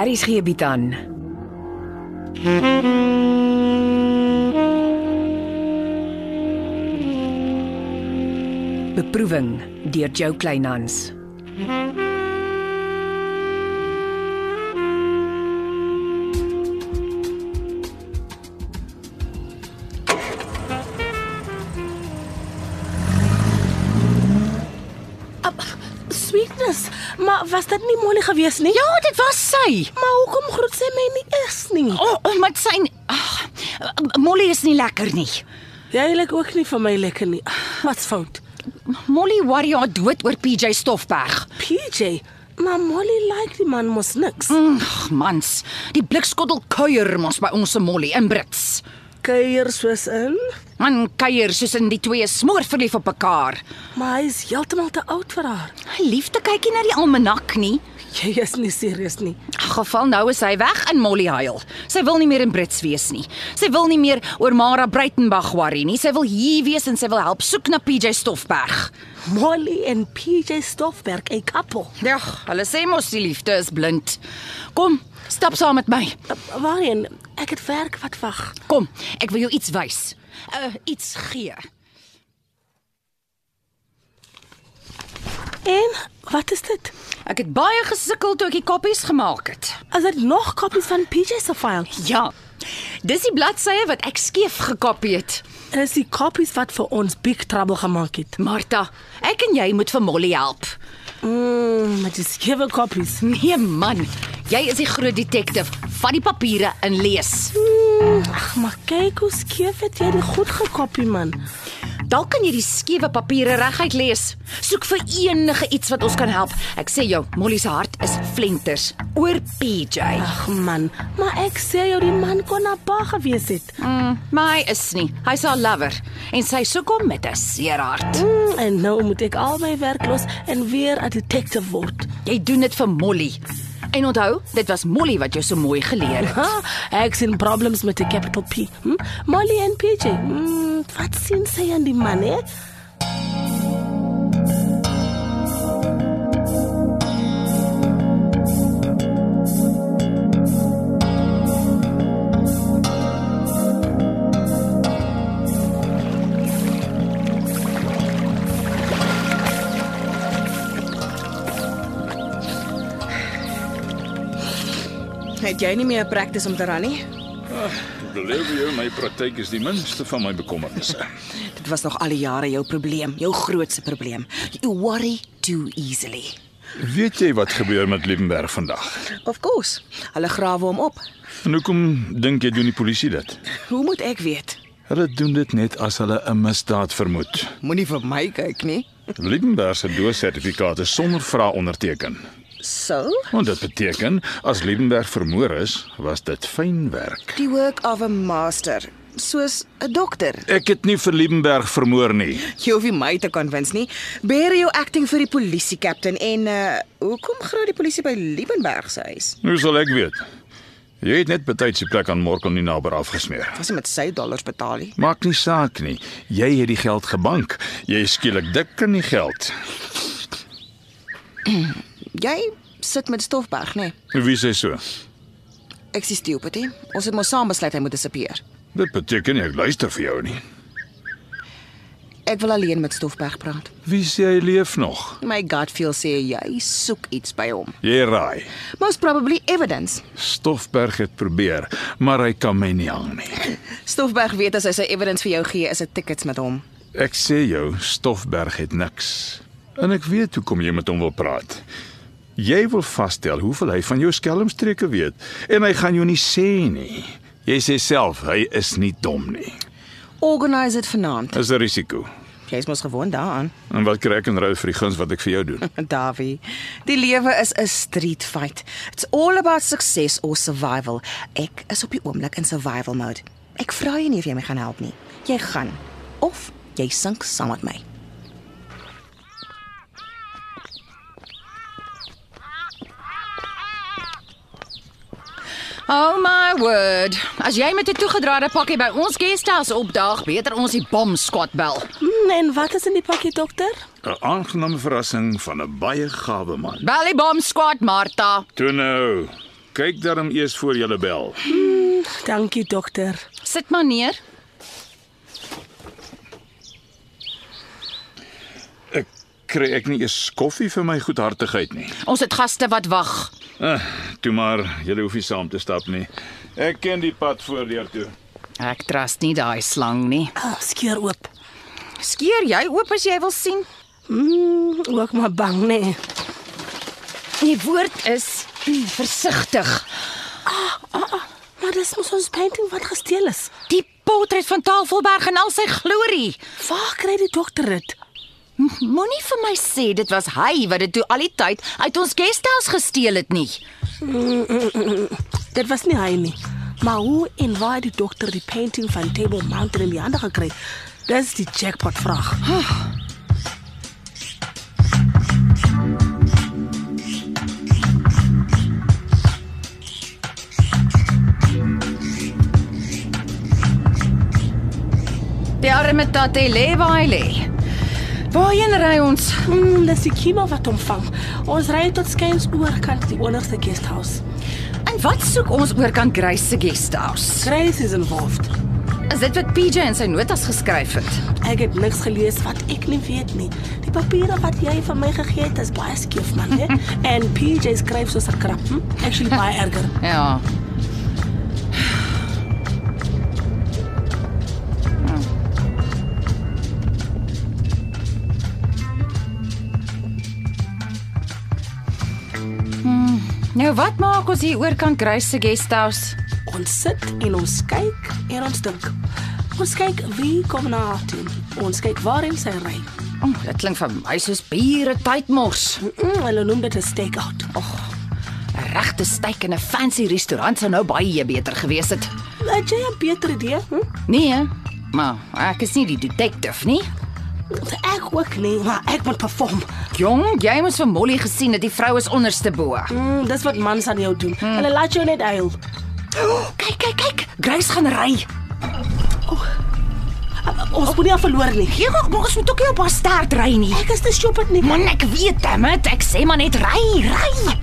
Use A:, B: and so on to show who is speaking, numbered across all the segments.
A: Aries gee bied aan. Beproeving deur Jo Kleinhans.
B: Sweetness, maar was dit nie Molly gewees nie?
C: Ja, dit was sy.
B: Maar hoekom groet sy my nie eers nie?
C: O, oh, omdat sy ag, Molly is nie lekker nie.
B: Jy lyk ook nie vir my lekker nie. Ah, Wat's fout?
C: Molly worry haar dood oor PJ Stoffberg.
B: PJ, maar Molly like die man mos niks.
C: Hm. Ag, mans, die blikskottel kuier mos by ons se Molly in Brits.
B: Kuier soos in,
C: Man kuier soos in die twee smoor verlief op mekaar.
B: maar hy is heeltemal te oud vir haar.
C: Hy liefde kykie na die almanak nie.
B: Jy is nie serieus nie.
C: Ag, geval nou is hy weg in Molly huil. Sy wil nie meer in Brits wees nie. Sy wil nie meer oor Mara Breitenberg worry nie. Sy wil hier wees en sy wil help soek na PJ Stoffberg.
B: Molly en PJ Stoffberg, 'n koppel.
C: Ja, hulle sê mos die liefde is blind. Kom, stap saam met my.
B: Uh, Waarheen? Ek het werk wat wag.
C: Kom, ek wil jou iets wys. Uh iets gee.
B: En wat is dit?
C: Ek het baie gesukkel toe ek die koppies gemaak het.
B: Is dit nog koppies van PJ se file?
C: Ja. Dis die bladsye wat ek skeef gekopie het.
B: En is die koppies wat vir ons big trouble gemaak het.
C: Martha, ek en jy moet vir Molly help.
B: Mm, maar dis gewe koppies.
C: Nee man, jy is die groot detektief. Vat die papiere en lees.
B: Mm, Ag, maar kyk hoe skeef het jy dit goed gekopie man.
C: Dalk kan jy die skewe papiere reguit lees. Soek vir enige iets wat ons kan help. Ek sê jou, Molly se hart is flenters oor PJ.
B: Ag man, maar ek sê jou die man kon na pa gewees het.
C: Mm, maar hy is nie. Hy's haar lover en sy soek hom met 'n seer hart.
B: Mm, en nou moet ek al my werk los en weer 'n detective word.
C: Jy doen dit vir Molly. En onthou, dit was Molly wat jou so mooi geleer het.
B: Ha, ek sien problems met 'n capital P. Hm? Molly en PJ. Mm, wat sien sy aan die man hè?
D: Het jy nie meer 'n praktis om te ran nie?
E: Beleef jou my praktyk is die minste van my bekommernisse.
D: Dit was nog al die jare jou probleem, jou grootste probleem. You worry too easily.
E: Weet jy wat gebeur met Liebenberg vandag?
D: Of course. Hulle grawe hom op.
E: En hoekom dink jy doen die polisie dit?
D: Hoe moet ek weet?
E: Hulle doen dit net as hulle 'n misdaad vermoed.
D: Moenie vir my kyk nie.
E: Liebenberg se doodsertifikaat is sonder vrae onderteken.
D: So,
E: Want dit beteken as Liebenberg vermoor is, was dit fyn werk.
D: the work of a master, soos 'n dokter.
E: Ek het nie vir Liebenberg vermoor nie.
D: Jy hoef nie my te konwins nie. Beer jou acting vir die polisie kaptein en uh hoekom glo die polisie by Liebenberg se huis?
E: Hoe sal ek weet? Jy het net betyds die plek aan Morkel nie naby afgesmeer.
D: Was hy met sy dollars betaal nie?
E: Maak nie saak nie. Jy het die geld gebank. Jy is skielik dik in die geld.
D: Jy sit met Stoffberg, né? Nee.
E: Wie sê so?
D: Ek is stupid, hè. Ons het mos saam besluit hy moet disappear.
E: Dit beteken nie ek luister vir jou nie.
D: Ek wil alleen met Stoffberg praat.
E: Wie sê hy leef nog?
D: My gut feel sê jy soek iets by hom.
E: Jy raai.
D: Most probably evidence.
E: Stoffberg het probeer, maar hy kan my nie hang nie.
D: Stoffberg weet as hy sy evidence vir jou gee, is dit tickets met hom.
E: Ek sê jou, Stoffberg het niks. En ek weet hoekom jy met hom wil praat. Jy wil vasstel hoeveel hy van jou skelmstreke weet en hy gaan jou nie sê nie. Jy sê self hy is nie dom nie.
D: Organise dit vanaand.
E: Dis 'n risiko.
D: Jy's mos gewoond daaraan.
E: En wat kry ek in ruil vir die guns wat ek vir jou doen?
D: Davie, die lewe is 'n street fight. It's all about success or survival. Ek is op die oomblik in survival mode. Ek vra jou nie of jy my gaan help nie. Jy gaan of jy sink saam met my.
C: Oh my word. As jy met 'n toegedraaide pakkie by ons guesthouse opdaag, beter ons die bom squad bel.
B: Mm, en wat is in die pakkie dokter?
E: 'n Aangename verrassing van 'n baie gawe man.
C: Bel die bom squad, Martha.
E: Toe nou. Kyk darm eers voor jy bel.
B: Dankie dokter.
C: Sit maar neer.
E: Ek kry ek nie eers koffie vir my goedhartigheid nie.
C: Ons het gaste wat wag.
E: Ah, toe maar, jy hoef nie saam te stap nie. Ek ken die pad voordeur toe.
C: Ek trust nie daai slang nie.
B: Ah, skeer oop.
C: Skeer jy oop as jy wil sien?
B: Mm, ook maar bang nee.
C: Die woord is mm, versigtig.
B: Maar dis mos ons painting wat gesteel is.
C: Die portret van Tafelberg in al sy glorie.
B: Waar kry die dokter dit?
C: Moenie vir my sê dit was hy wat dit toe al die tyd uit ons guesthouse gesteel het nie.
B: Dit was nie hy nie. Maar hoe en waar het die dokter die painting van Table Mountain in die hande gekry? Dis die jackpot vraag.
C: Die arme tatte lê waar hy lê. Waarheen ry ons?
B: Mm, dis die kima wat hom vang. Ons ry tot skuins oor kant die onderste guesthouse.
C: En wat soek ons oor kan Grace se guesthouse?
B: Grace is involved.
C: Is dit wat PJ in sy notas geskryf het?
B: Ek het niks gelees wat ek nie weet nie. Die papiere wat jy vir my gegee het is baie skeef man, hè? en PJ skryf soos 'n krap. Hm? Actually baie erger.
C: Ja. Hmm, Nou wat maak ons hier oor kan Grace se guesthouse?
B: Ons sit en ons kyk en ons dink. Ons kyk wie kom na haar toe. Ons kyk waarin sy ry.
C: O, oh, dit klink vir my soos bure tydmors.
B: Mm, -mm, hulle noem dit 'n stakeout.
C: Och, 'n regte steak in 'n fancy restaurant sou nou baie beter gewees het.
B: Oh, Het jy 'n beter idee? Hm?
C: Nee, maar ek is nie die detective nie.
B: Ek ook nie, maar ek moet perform.
C: Jong, jy moes vir Molly gesien dat die vrou is onderste bo.
B: Mm, dis wat mans aan jou doen. Hulle laat jou net huil.
C: Kyk, kyk, kyk. Grace gaan ry.
B: Ons moet nie haar verloor nie.
C: Gee gou, maar ons moet ook nie op haar stert ry nie.
B: Ek is te stupid nie.
C: Man, ek weet dit. Ek sê maar net ry, ry.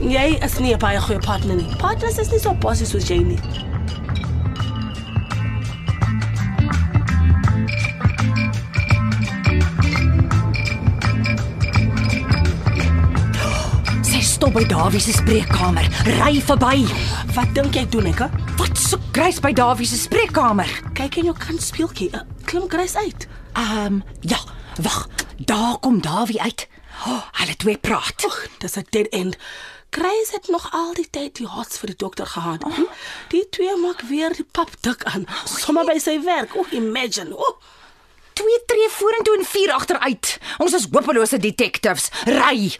B: Jy is nie 'n baie goeie partner nie. Partners is nie so bossies soos jy nie.
C: Sy stop by Dawie se spreekkamer. Ry verby.
B: Wat dink jy doen ek? He?
C: Wat soek Grace by Dawie se spreekkamer?
B: Kyk in jou kant speeltjie. Uh, klim Grace uit.
C: Ehm, um, ja, wag. Daar kom Dawie uit. Oh, hulle twee praat.
B: Ag, dis 'n dead end. Grace het nog al die tyd die hots vir die dokter gehad. Oh. Die twee maak weer die pap dik aan. Sommige by sy werk. O, oh, imagine. O, oh,
C: Twee tree vorentoe en vier agteruit. Ons is hopelose detectives. Ry.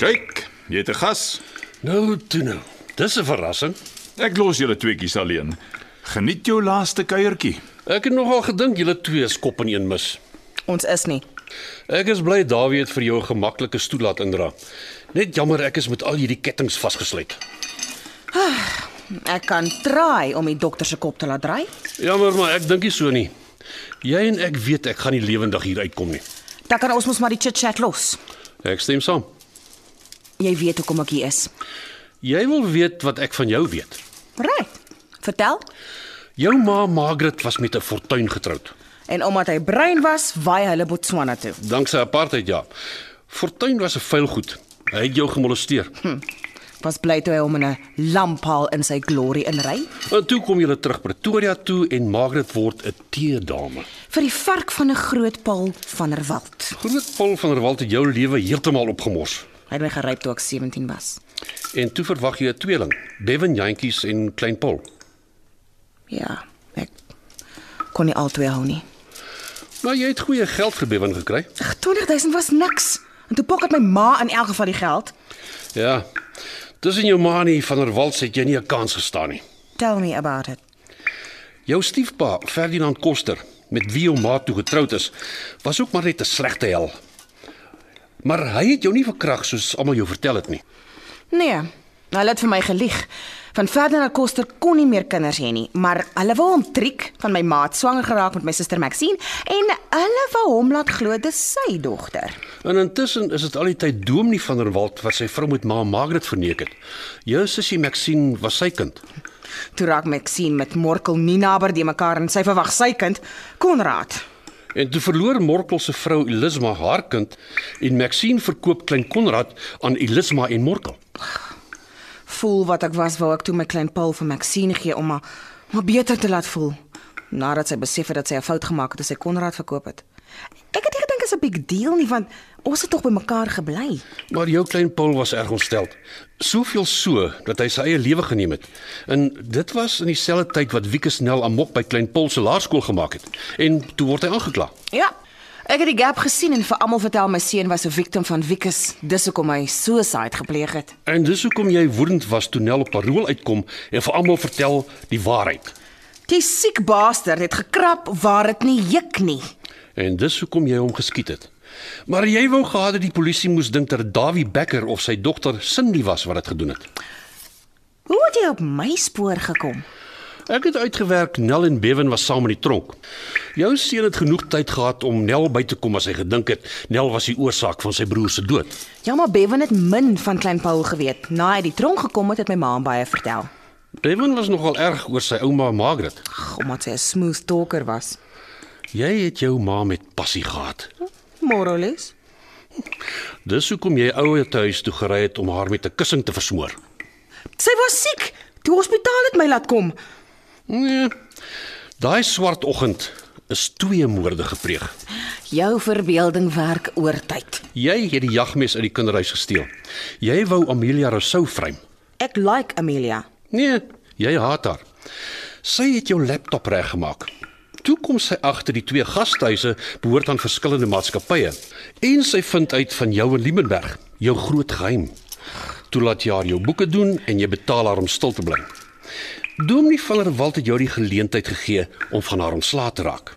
E: Kyk, jy het 'n gas.
F: Nou toe nou. Dis 'n verrassing.
E: Ek los julle tweeetjies alleen. Geniet jou laaste kuiertjie.
F: Ek het nogal gedink julle twee is kop in een mis.
D: Ons is nie.
F: Ek is bly Dawie het vir jou 'n gemaklike stoel laat indra. Net jammer ek is met al hierdie kettinge vasgesluit.
D: Ek kan try om die dokter se kop te laat draai.
F: Jammer, maar ek dink nie so nie. Jy en ek weet ek gaan nie lewendig hier uitkom nie.
D: Dan kan ons mos maar die chit-chat los.
F: Ek stem saam.
D: Jy weet hoekom ek hier is.
F: Jy wil weet wat ek van jou weet.
D: Right. Vertel.
F: Jou ma Margaret was met 'n fortuin getroud.
D: En omdat hy brein was, waai hulle Botswana toe.
F: Dankse apartheid ja. Fortuin was 'n vuil goed. Hy het jou gemolesteer.
D: Was bly toe hy hom in 'n lamphaal in sy glory inry
F: En toe kom jy terug Pretoria toe en Margaret word 'n teedame.
D: vir die vark van 'n groot paal van der Walt.
F: Groot Paul van der Walt het jou lewe heeltemal opgemors.
D: Hy het my geryp toe ek 17 was.
F: En toe verwag jy 'n tweeling, Devin Jantjies en Klein Paul.
D: Ja, ek kon nie albei hou nie.
F: Maar jy het goeie geld vir Devin gekry.
D: Ag, 20000 was niks. En toe pak het my ma in elk geval die geld.
F: Ja. Tussen jou ma en die van der Walt het jy nie 'n kans gestaan nie.
D: Tell me about it.
F: Jou stiefpa, Ferdinand Koster, met wie jou ma toe getroud is, was ook maar net 'n slegte hel. Maar hy het jou nie verkrag soos almal jou vertel het nie.
D: Nee, hulle het vir my gelieg. Van Ferdinand Koster kon nie meer kinders hê nie, maar hulle wou hom triek van my maat swanger geraak met my suster Maxine en hulle wou hom laat glo dis sy dogter.
F: En intussen is dit al die tyd Dominee van der Walt wat sy vrou met ma Margaret verneek het. Jou sussie Maxine was sy kind.
D: Toe raak Maxine met Morkel nie naby die mekaar en sy verwag sy kind Konrad.
F: En toe verloor Morkel se vrou Elisma haar kind en Maxine verkoop klein Konrad aan Elisma en Morkel.
D: Voel wat ek was wou ek toe my klein Paul vir Maxine gee om haar maar beter te laat voel. Nadat sy besef het dat sy 'n fout gemaak het toe sy Konrad verkoop het. Ek het nie gedink dit is 'n big deal nie want ons het tog by mekaar gebly.
F: Maar jou klein Paul was erg ontstel. Soveel so dat hy sy eie lewe geneem het. En dit was in dieselfde tyd wat Wieke Snell amok by klein Paul se laerskool gemaak het. En toe word hy aangekla.
D: Ja. Ek het die gap gesien en vir almal vertel my seun was 'n victim van Wikus. Dis hoekom hy suicide gepleeg het.
F: En dis hoekom jy woedend was toe Nel op parol uitkom en vir almal vertel die waarheid.
D: Die siek baaster het gekrap waar dit nie juk nie.
F: En dis hoekom jy hom geskiet het. Maar jy wou gehad het die polisie moes dink dat dit Dawie Becker of sy dogter Cindy was wat dit gedoen het.
D: Hoe het jy op my spoor gekom?
F: Ek het uitgewerk Nel en Bevan was saam in die tronk. Jou seun het genoeg tyd gehad om Nel by te kom as hy gedink het Nel was die oorsaak van sy broer se dood.
D: Ja, maar Bevan het min van klein Paul geweet. Na hy die tronk gekom het, het my ma hom baie vertel.
F: Bevan was nogal erg oor sy ouma Margaret.
D: Ag, omdat sy 'n smooth talker was.
F: Jy het jou ma met passie gehad.
D: Moreles.
F: Dis hoekom jy ouer huis toe gery het om haar met 'n kussing te versmoor.
D: Sy was siek. Die hospitaal het my laat kom.
F: Nee. Daai swart oggend is twee moorde gepleeg.
D: Jou verbeelding werk oortyd.
F: Jy het die jagmes uit die kinderhuis gesteel. Jy wou Amelia Rousseau vrym.
D: Ek like Amelia.
F: Nee, jy haat haar. Sy het jou laptop reggemaak. Toe kom sy agter die twee gasthuise behoort aan verskillende maatskappye en sy vind uit van jou in Liebenberg, jou groot geheim. Toe laat jy haar jou boeke doen en jy betaal haar om stil te bly. Dominee van der Walt het jou die geleentheid gegee om van haar ontslae te raak.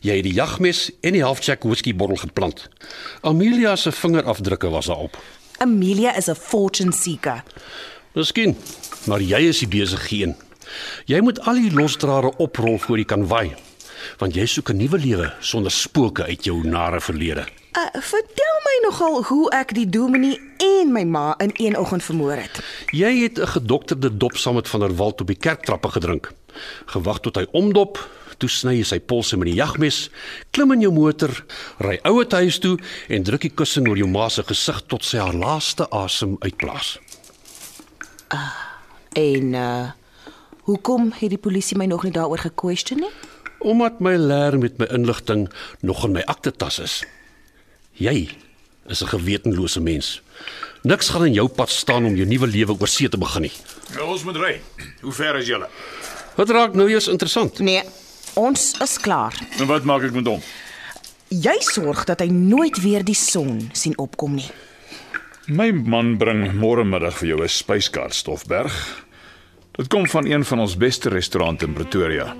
F: Jy het die jagmes en die halfjack whisky bottel geplant. Amelia se vingerafdrukke was daarop.
D: Amelia is 'n fortune seeker.
F: Miskien, maar jy is die besige een. Jy moet al die losdrade oprol voor jy kan waai, want jy soek 'n nuwe lewe sonder spooke uit jou nare verlede.
D: Uh, vertel my nogal hoe ek die dominee en my ma in een oggend vermoor het.
F: Jy het 'n gedokterde dop saam met van der Walt op die kerktrappe gedrink. Gewag tot hy omdop, toe sny jy sy polse met die jagmes, klim in jou motor, ry ouer huis toe en druk die kussing oor jou ma se gesig tot sy haar laaste asem uitblaas.
D: En uh hoekom het die polisie my nog nie daaroor gequestion nie?
F: Omdat my leer met my inligting nog in my aktetas is. Jy is 'n gewetenlose mens. Niks gaan in jou pad staan om jou nuwe lewe oor see te begin nie.
E: Nou, Ons moet ry. Hoe ver is julle?
F: Wat raak nou eers interessant?
D: Nee, ons is klaar.
E: En wat maak ek met hom?
D: Jy sorg dat hy nooit weer die son sien opkom nie.
E: My man bring môre middag vir jou 'n spyskaart Stoffberg. Dit kom van een van ons beste restaurante in Pretoria.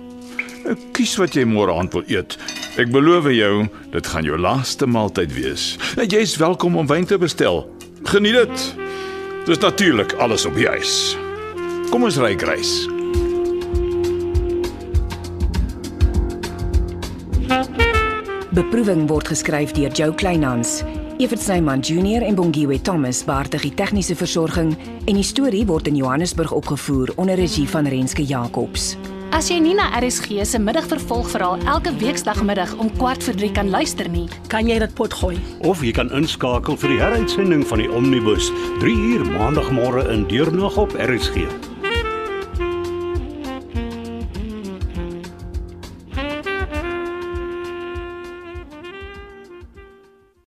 E: Ek kies wat jy môre aand wil eet. Ek beloof jou, dit gaan jou laaste maaltyd wees. En jy is welkom om wyn te bestel. Geniet dit. Dis natuurlik alles op die ys. Kom ons ry, Grace.
A: Beproeving word geskryf deur Jo Kleinhans. Evert Snyman Junior en Bongwe Thomas beheer die tegniese versorging en die storie word in Johannesburg opgevoer onder regie van Renske Jacobs.
G: As jy Nina RSG se middagvervolgverhaal elke weekdagmiddag om 14:15 kan luister nie,
B: Kan jy dit pot gooi?
H: Of jy kan inskakel vir die heruitsending van die Omnibus 3 uur maandagmôre in deurnag op RSG.